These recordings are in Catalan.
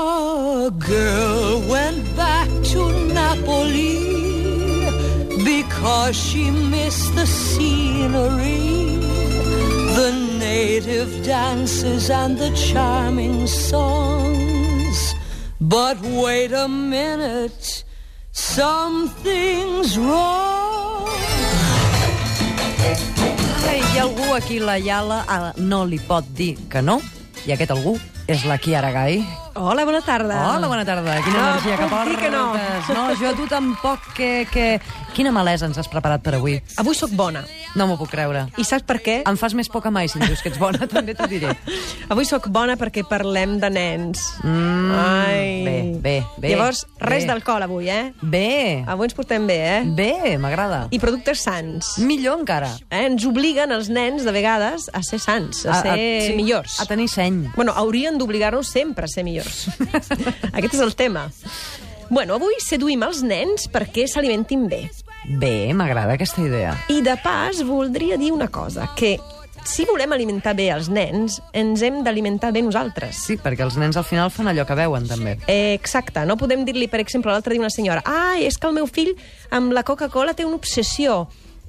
A girl went back to Napoli because she missed the scenery, the native dances, and the charming songs. But wait a minute, something's wrong. Ai, hi ha algú aquí la Iala ah, no li pot dir que no, i aquest algú és la Kiara Gai. Hola, bona tarda. Hola, bona tarda. Quina No, energia que Ah, puc dir que no. portes. No, jo a tu tampoc, que, que... Quina malesa ens has preparat per avui. Avui sóc bona. No m'ho puc creure. I saps per què? Em fas més por que mai, si em dius que ets bona, també t'ho diré. Avui sóc bona perquè parlem de nens. Mm, Ai. bé, bé, bé, Llavors, bé. res Mm. d'alcohol avui, eh? Bé, Avui ens portem bé, eh? bé, m'agrada. I productes sants. Millor encara. Eh? Ens obliguen els nens, de vegades, a ser sants, a, ser sí, millors. A tenir seny. Bueno, haurien d'obligar-nos sempre a ser millors. Aquest és el tema. Bueno, avui seduïm els nens perquè s'alimentin bé. Bé, m'agrada aquesta idea. I de pas voldria dir una cosa, que si volem alimentar bé els nens, ens hem d'alimentar bé nosaltres. Sí, perquè els nens al final fan allò que veuen, també. Eh, exacte, no podem dir-li, per exemple, l'altre dia a una senyora «Ai, és que el meu fill amb la Coca-Cola té una obsessió.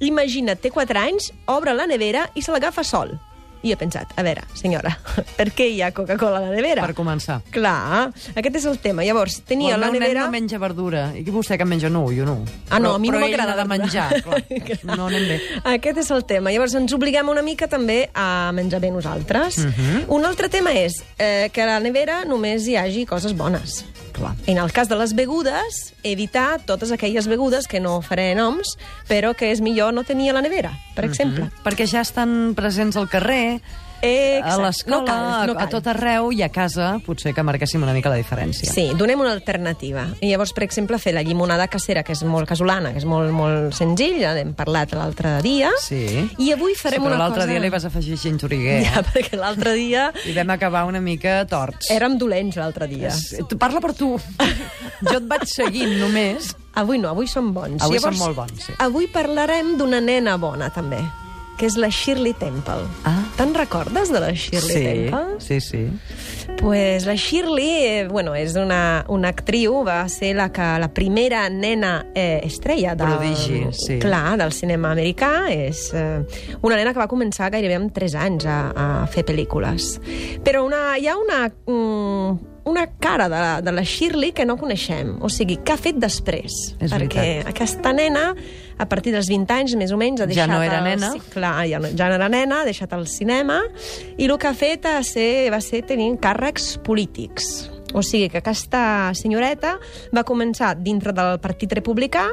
Imagina't, té 4 anys, obre la nevera i se l'agafa sol». I he pensat, a veure, senyora, per què hi ha Coca-Cola a la nevera? Per començar. Clar, aquest és el tema. Llavors, Ni tenia el la meu nen nevera... no menja verdura. I vostè que en menja no, jo no. Ah, Però- no, a mi no però ell m'agrada n'ha de la verdura. menjar. Clar. No anem bé. Aquest és el tema. Llavors, ens obliguem una mica també a menjar bé nosaltres. Mhm. Un altre tema és eh, que a la nevera només hi hagi coses bones. Clar. En el cas de les begudes, evitar totes aquelles begudes que no faré noms, però que és millor no tenir a la nevera, per Mhm. exemple. Perquè ja estan presents al carrer, Exacte. a No l'escola, cal, no a, a cal. tot arreu i a casa potser que marquéssim una mica la diferència. Sí, donem una alternativa. I llavors, per exemple, fer la llimonada casera, que és molt casolana, que és molt, molt senzilla, n'hem parlat l'altre dia. Sí. I avui farem sí, però una cosa... l'altre dia li vas afegir xinxuriguer. Ja, perquè l'altre dia I vam acabar una mica torts. érem dolents l'altre dia. Sí, tu- Parla per tu. jo et vaig seguint només. Avui no, avui som bons. Avui som molt bons, sí. Avui parlarem d'una nena bona, també, que és la Shirley Temple. Ah. Te'n recordes de la Shirley Temple? sí, sí. Pues la Shirley, eh, bueno, és una, una actriu, va ser la, que, la primera nena eh, estrella del, Prodigi, sí. clar, del cinema americà. És eh, una nena que va començar gairebé amb 3 anys a, a fer pel·lícules. Però una, hi ha una, mm, una cara de, la- de la Shirley que no coneixem, o sigui, què ha fet després? És Perquè veritat. aquesta nena, a partir dels 20 anys, més o menys, ha Ja deixat... no era el nena. ci- clar, ja no, ja no era nena, ha deixat el cinema, i el que ha fet va ser, va ser tenir càrrecs polítics. O sigui que aquesta senyoreta va començar dintre del Partit Republicà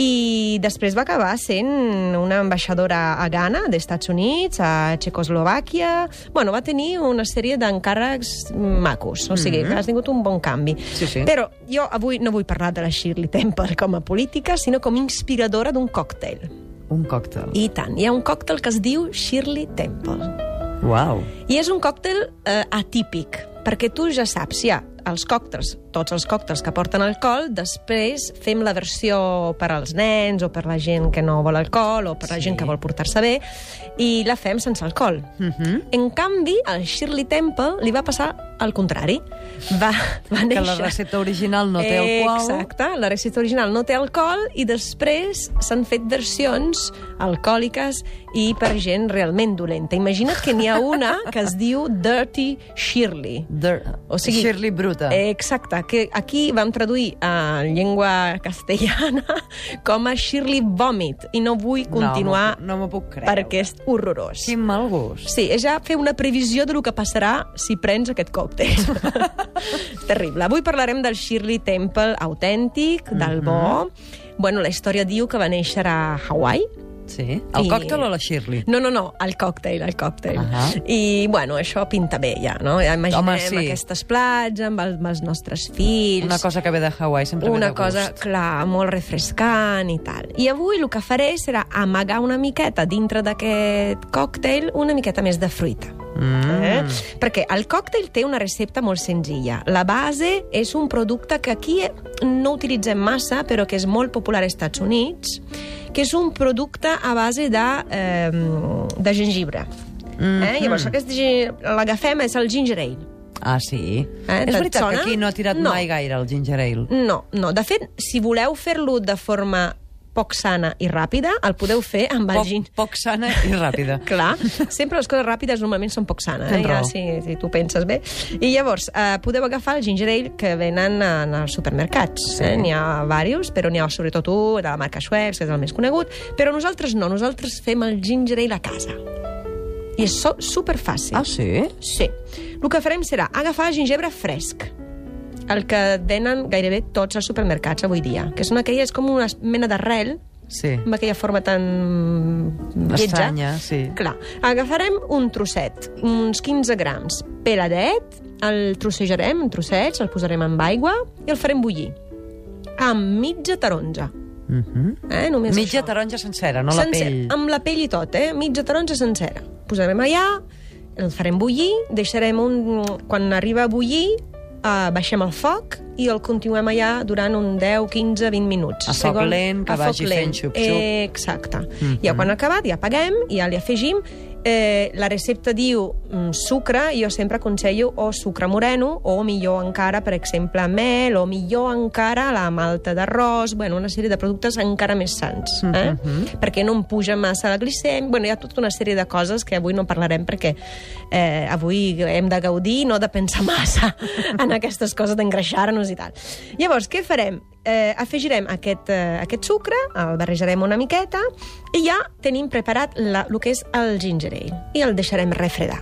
i després va acabar sent una ambaixadora a Ghana, d'Estats Units, a Txecoslovàquia... Bueno, va tenir una sèrie d'encàrrecs macos, o sigui que has tingut un bon canvi. Mhm. Sí, sí. Però jo avui no vull parlar de la Shirley Temple com a política, sinó com a inspiradora d'un còctel. Un còctel. I tant, hi ha un còctel que es diu Shirley Temple. Uau. I és un còctel eh, atípic, perquè tu ja saps, hi ha els còctels, tots els còctels que porten alcohol, després fem la versió per als nens o per la gent que no vol alcohol o per la Sí. gent que vol portar-se bé, i la fem sense alcohol. Uh -huh. En canvi, al Shirley Temple li va passar el contrari. Va, va Que néixer... la recepta original no té alcohol. Exacte, la recepta original no té alcohol i després s'han fet versions alcohòliques i per gent realment dolenta. Imagina't que n'hi ha una que es diu Dirty Shirley. De... O sigui, Shirley Bruta. Eh, Exacte, que aquí vam traduir en llengua castellana com a Shirley Vomit i no vull continuar No, no m'ho puc creure. perquè és horrorós. Quin mal gust. Sí, és ja fer una previsió del que passarà si prens aquest còctel. Terrible. Avui parlarem del Shirley Temple autèntic, del Mhm. bo. Bueno, la història diu que va néixer a Hawaii. Sí. El I- còctel o la Shirley? No, no, no, el còctel, el còctel. Ahà. I, bueno, això pinta bé ja, no? Ja imaginem Home, sí. aquestes plats amb, el, amb els nostres fills Una cosa que ve de Hawaii sempre ve de una gust. cosa, clar, molt refrescant i tal. I avui el que faré serà amagar una miqueta dintre d'aquest còctel una miqueta més de fruita. Mm. Eh? Perquè el còctel té una recepta molt senzilla. La base és un producte que aquí no utilitzem massa, però que és molt popular als Estats Units, que és un producte a base de, Mm-hmm. eh, de gengibre. Mm -hmm. eh? Llavors, aquest, gi- l'agafem, és el ginger ale. Ah, sí? Eh, és te'n veritat sona? que aquí no ha tirat No. mai gaire el ginger ale. No, no. De fet, si voleu fer-lo de forma poc sana i ràpida, el podeu fer amb el gin. Poc, poc sana i ràpida. Clar, sempre les coses ràpides normalment són poc sanes, eh? Tens ja, raó. si, si tu penses bé. I llavors, eh, podeu agafar el ginger ale que venen en els supermercats. Sí. Eh? N'hi ha diversos, però n'hi ha sobretot un de la marca Schweppes, que és el més conegut, però nosaltres no, nosaltres fem el ginger ale a casa. I és so, superfàcil. Ah, sí? Sí. El que farem serà agafar gingebre fresc, el que venen gairebé tots els supermercats avui dia, que són aquelles com una mena d'arrel, Sí. amb aquella forma tan... lletja. Estranya, sí. Clar. Agafarem un trosset, uns 15 grams, peladet, el trossejarem en trossets, el posarem amb aigua i el farem bullir. Amb mitja taronja. Mm -hmm. Eh? Només Mitja això. taronja sencera, no la Sencer, pell. Amb la pell i tot, eh? Mitja taronja sencera. Posarem allà, el farem bullir, deixarem un... Quan arriba a bullir, eh, baixem el foc i el continuem allà durant un 10, 15, 20 minuts. A foc lent, que a foc vagi fent lent. xup-xup. Mm-hmm. Exacte. Ja quan ha acabat, ja apaguem, i ja li afegim. Eh, la recepta diu mm, sucre, i jo sempre aconsello o sucre moreno, o millor encara, per exemple, mel, o millor encara la malta d'arròs, bueno, una sèrie de productes encara més sants, eh? Mm-hmm. perquè no em puja massa la glicem, bueno, hi ha tota una sèrie de coses que avui no parlarem perquè eh, avui hem de gaudir, no de pensar massa en aquestes coses d'engreixar-nos i tal. Llavors, què farem? eh, afegirem aquest, eh, aquest sucre, el barrejarem una miqueta i ja tenim preparat la, el que és el ginger ale i el deixarem refredar.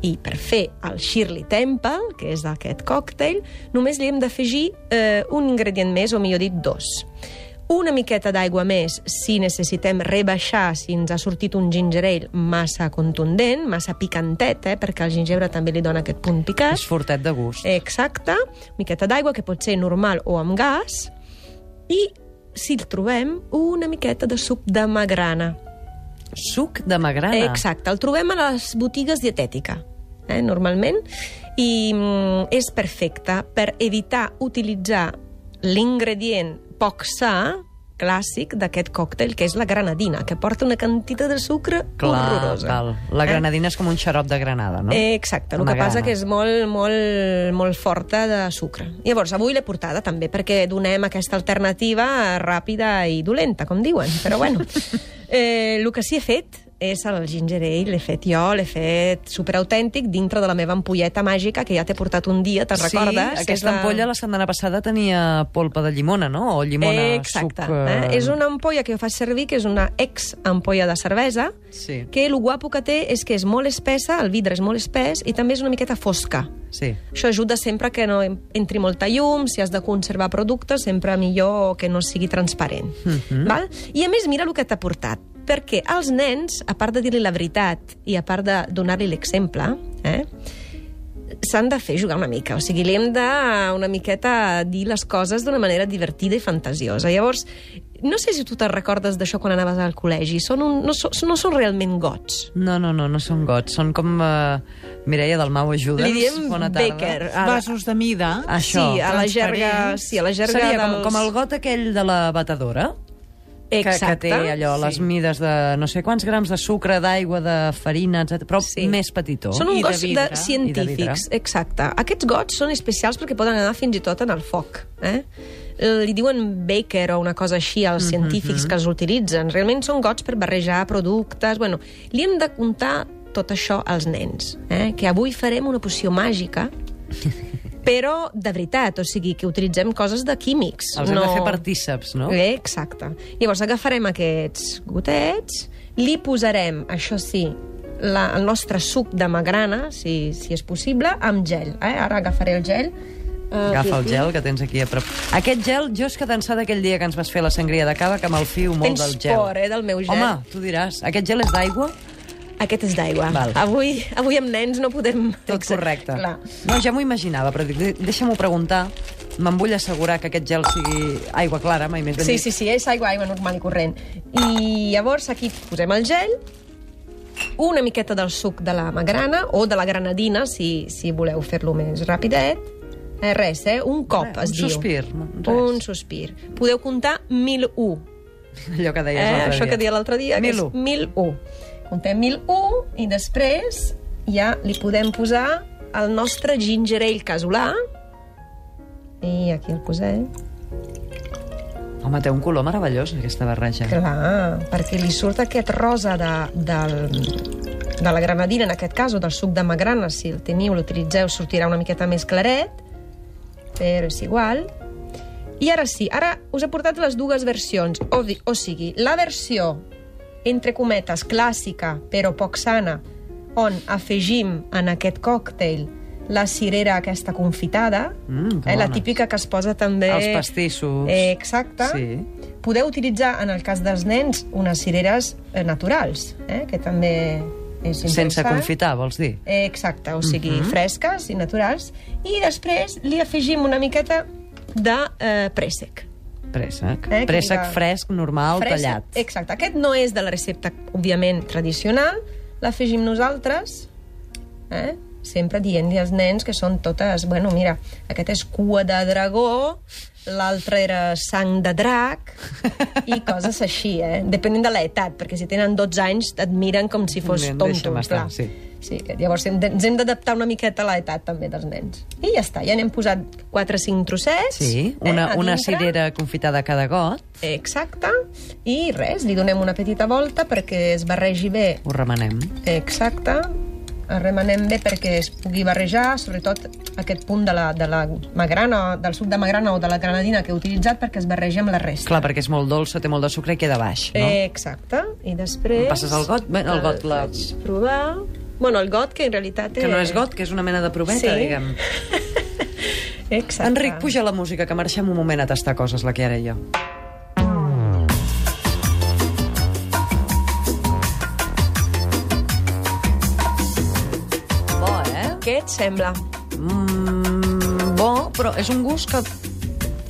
I per fer el Shirley Temple, que és aquest còctel, només li hem d'afegir eh, un ingredient més, o millor dit, dos. Una miqueta d'aigua més si necessitem rebaixar, si ens ha sortit un ginger ale massa contundent, massa picantet, eh, perquè el gingebre també li dona aquest punt picat. És fortet de gust. Eh. Exacte, miqueta d'aigua, que pot ser normal o amb gas, i, si el trobem, una miqueta de suc de magrana. Suc de magrana. Exacte, el trobem a les botigues dietètica, eh, normalment, i mm, és perfecte per evitar utilitzar l'ingredient poc sa, clàssic d'aquest còctel, que és la granadina, que porta una quantitat de sucre Clar, horrorosa. val. La Eh? granadina és com un xarop de granada, no? Eh, Exacte, el Amb que la passa grana. que és molt, molt, molt forta de sucre. Llavors, avui l'he portada també perquè donem aquesta alternativa ràpida i dolenta, com diuen, però bueno. Eh, el que sí he fet és el ginger ale, l'he fet jo, l'he fet superautèntic dintre de la meva ampolleta màgica que ja t'he portat un dia, te'n recordes? Sí, Que és aquesta ampolla la setmana passada tenia polpa de llimona, no? O llimona, Exacte. suc... Eh? És una ampolla que jo faig servir, que és una ex-ampolla de cervesa, Sí. que el guapo que té és que és molt espessa, el vidre és molt espès i també és una miqueta fosca. Sí. Això ajuda sempre que no en- entri molta llum, si has de conservar productes, sempre millor que no sigui transparent. Mhm. Val? I a més, mira el que t'ha portat. Perquè els nens, a part de dir-li la veritat i a part de donar-li l'exemple, eh, s'han de fer jugar una mica. O sigui, li hem de una miqueta dir les coses d'una manera divertida i fantasiosa. Llavors, no sé si tu te'n recordes d'això quan anaves al col·legi. Són un, no, so, no són realment gots. No, no, no, no són gots. Són com uh, Mireia del Mau Ajuda'ns. Li diem Bona tarda. Baker. Ara- Vasos de mida. Això, sí, a la transparents. jerga, sí, a la jerga Seria com, dels... com el got aquell de la batedora. Exacte. Que, que té allò, les mides de no sé quants grams de sucre, d'aigua, de farina, etc. Però Sí. sí. més petitó. Són un I de gots de, vidre. I de vidre. científics, exacte. Aquests gots són especials perquè poden anar fins i tot en el foc. Eh? Li diuen baker o una cosa així Mhm, als científics que els utilitzen. Realment són gots per barrejar productes... Bueno, li hem de contar tot això als nens. Eh? Que avui farem una poció màgica però de veritat, o sigui, que utilitzem coses de químics. Els hem no... de fer partíceps, no? Eh, exacte. Llavors agafarem aquests gotets, li posarem, això sí, la, el nostre suc de magrana, si, si és possible, amb gel. Eh? Ara agafaré el gel. Uh, Agafa el gel que tens aquí a prop. Aquest gel, jo és que d'ençà d'aquell dia que ens vas fer la sangria de cava, que me'l fio molt Tens del gel. por, eh, del meu gel. Home, tu diràs. Aquest gel és d'aigua? Aquest és d'aigua. Val. Avui, avui amb nens no podem... Tot correcte. Clar. No, ja m'ho imaginava, però dic, de- deixa-m'ho preguntar. Me'n vull assegurar que aquest gel sigui aigua clara, mai més ben Sí, dit. sí, sí, és aigua, aigua normal i corrent. I llavors aquí posem el gel, una miqueta del suc de la magrana o de la granadina, si, si voleu fer-lo més rapidet. Eh, res, eh? Un cop, Res, es un diu. sospir, no? Res. Un suspir. Podeu comptar 1.001. Allò que Eh, deies l'altre això dia. que deia l'altre dia, que és 1.001. 1.001. Comptem 1.001 i després ja li podem posar el nostre ginger ale casolà. I aquí el posem. Home, té un color meravellós, aquesta barreja. Clar, perquè li surt aquest rosa de, del, de la granadina, en aquest cas, o del suc de magrana, si el teniu, l'utilitzeu, sortirà una miqueta més claret, però és igual. I ara sí, ara us he portat les dues versions, o, di- o sigui, la versió, entre cometes, clàssica, però poc sana, on afegim en aquest còctel la cirera aquesta confitada, Mm, que eh, la bona. típica que es posa també... Els pastissos. Eh, exacte. Sí. Podeu utilitzar, en el cas dels nens, unes cireres eh, naturals, eh, que també és interessant. Sense Mhm. confitar, vols dir? Eh, exacte, o sigui, fresques i naturals. I després li afegim una miqueta de eh, préssec. Préssec. Eh, Eh, que Préssec mira- fresc, normal, tallat. Exacte, aquest no és de la recepta, òbviament, tradicional. L'afegim nosaltres, eh? sempre dient-li als nens que són totes... Bueno, mira, aquest és cua de dragó, l'altre era sang de drac, i coses així, eh? Depenent de l'edat, perquè si tenen 12 anys et miren com si fos Nen, tonto. deixa'm estar, clar. sí. Sí, que llavors hem de- ens hem d'adaptar una miqueta a l'edat també dels nens. I ja està, ja n'hem posat 4-5 trossets. Sí, una, Eh, a una dintre. cirera confitada a cada got, Exacte. I res, li donem una petita volta perquè es barregi bé. ho remenem. Exacte. Arremanem bé perquè es pugui barrejar, sobretot aquest punt de la, de la magrana, del suc de magrana o de la granadina que he utilitzat perquè es barregi amb la resta. Clar, perquè és molt dolça, té molt de sucre i queda baix, no? Eh... Exacte. I després... Passes el got? Bé, el got, la- Vaig provar... Bueno, el got, que en realitat Que no és got, que és una mena de proveta, Sí. diguem. Exacte. Enric, puja la música, que marxem un moment a tastar coses, la Kiara i jo. Bo, eh? Què et sembla? Mm, bo, però és un gust que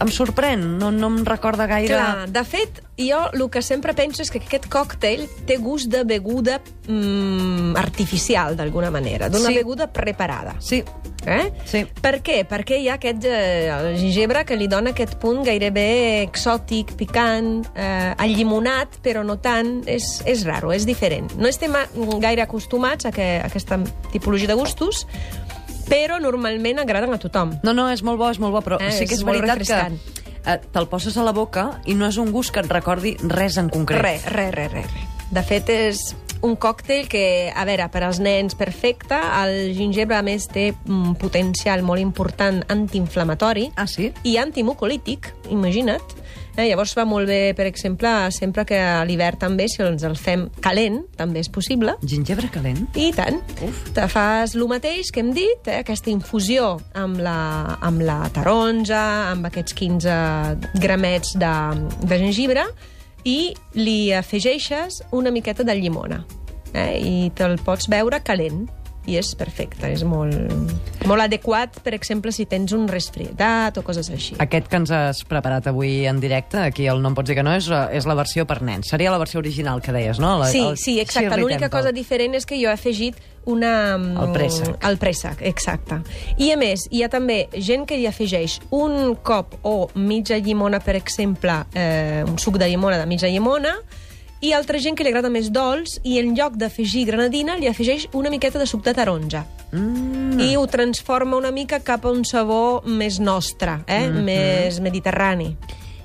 em sorprèn, no, no em recorda gaire... Clar, de fet, jo el que sempre penso és que aquest còctel té gust de beguda mm, artificial, d'alguna manera, d'una Sí. beguda preparada. Sí, Eh? sí. Per què? Perquè hi ha aquest eh, el gingebre que li dona aquest punt gairebé exòtic, picant, eh, allimonat, però no tant. És, és raro, és diferent. No estem a- gaire acostumats a, que, a aquesta tipologia de gustos, però normalment agraden a tothom. No, no, és molt bo, és molt bo, però Eh, eh, sí que és és, molt veritat que refrescant. eh, te'l poses a la boca i no és un gust que et recordi res en concret. Re, re, re, re, re. De fet, és un còctel que, a veure, per als nens perfecte, el gingebre, a més, té un potencial molt important antiinflamatori Ah, sí? i antimocolític, imagina't. Eh, llavors va molt bé, per exemple, sempre que a l'hivern també, si ens el fem calent, també és possible. Gingebre calent? I tant. Uf. Te fas el mateix que hem dit, eh? aquesta infusió amb la, amb la taronja, amb aquests 15 gramets de, de gengibre, i li afegeixes una miqueta de llimona. Eh? I te'l pots beure calent. I és perfecte, és molt, molt adequat, per exemple, si tens un resfriedat o coses així. Aquest que ens has preparat avui en directe, aquí el no em pots dir que no, és, eh, és la versió per nens. Seria la versió original que deies, no? La, Sí, el sí, exacte. Shirley L'única Temple. cosa diferent és que jo he afegit una... mm, El préssec. El préssec, exacte. I a més, hi ha també gent que hi afegeix un cop o mitja llimona, per exemple, eh, un suc de llimona de mitja llimona, i altra gent que li agrada més dolç i en lloc d'afegir granadina li afegeix una miqueta de suc de taronja Mm, i ho transforma una mica cap a un sabor més nostre, eh? Mhm. més mediterrani.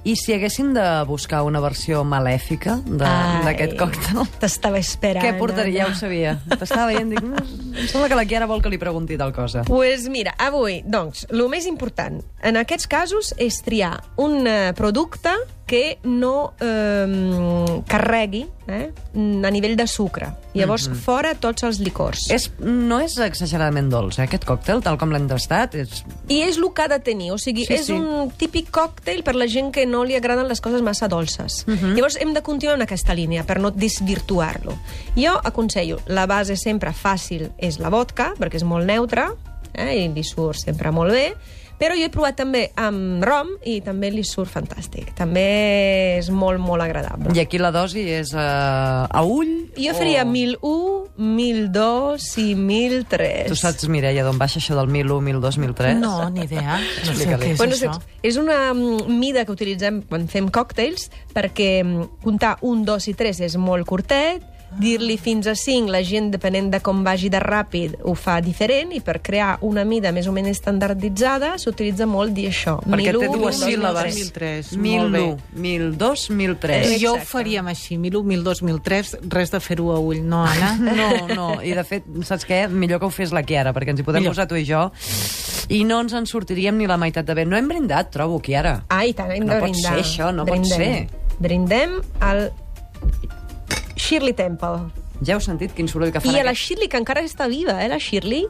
I si haguessin de buscar una versió malèfica de- Ai, d'aquest còctel, T'estava esperant. eh? què portaria? Ja Anna. ho sabia. T'estava veient, dic, no, em sembla que la Kiara vol que li pregunti tal cosa. Pues mira, avui, doncs, el més important en aquests casos és triar un eh, producte que no eh, carregui eh, a nivell de sucre. Llavors, mm -hmm. fora tots els licors. És, no és exageradament dolç, eh, aquest còctel, tal com l'hem tastat, és I és el que ha de tenir, o sigui, Sí, sí, és sí. sí. un típic còctel per la gent que no li agraden les coses massa dolces. Uh -huh. Llavors hem de continuar en aquesta línia per no desvirtuar-lo. Jo aconsello, la base sempre fàcil és la vodka, perquè és molt neutra eh, i li surt sempre molt bé, però jo he provat també amb rom i també li surt fantàstic. També és molt, molt agradable. I aquí la dosi és uh, a ull? Jo faria 1001, 1002 i 1003. Tu saps, Mireia, d'on baixa això del 1001, 1002, 1003? No, ni idea. No sé Eh? Explica-li. què és Bueno, això. és, és una mm, mida que utilitzem quan fem còctels perquè mm, comptar un, dos i tres és molt curtet, Ah. dir-li fins a 5, la gent, depenent de com vagi de ràpid, ho fa diferent, i per crear una mida més o menys estandarditzada s'utilitza molt dir això. Perquè té 1001, dues 1003. síl·labes. 1003, molt 1.001, 1.002, Eh, 1.003. jo ho Exacte. faríem així, 1001, 1002, 1003, res de fer-ho a ull, no, Anna? No, no, i de fet, saps què? Millor que ho fes la Kiara, perquè ens hi podem Millor. posar tu i jo i no ens en sortiríem ni la meitat de bé. No hem brindat, trobo, Kiara. Ah, i tant, hem No de pot brindar. ser això, no pot ser. Brindem al Shirley Temple. Ja heu sentit quin soroll que fan I a la aquests- Shirley, que encara està viva, eh, la Shirley?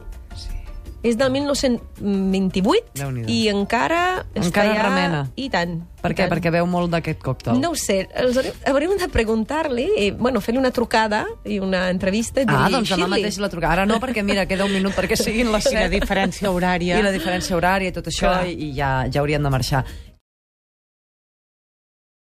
És del 1928 Déu-n'hi-do. i encara, està Encara allà- remena. I tant. Per i què? tant. Perquè veu molt d'aquest còctel. No ho sé, els haurem, hauríem de preguntar-li, eh, bueno, fer-li una trucada i una entrevista i dir-li... Ah, doncs demà "Shirley, mateix la truca. Ara no, perquè mira, queda un minut perquè siguin les Sí, la 7. diferència horària. I la diferència horària i tot això, Clar. i, i ja, ja hauríem de marxar.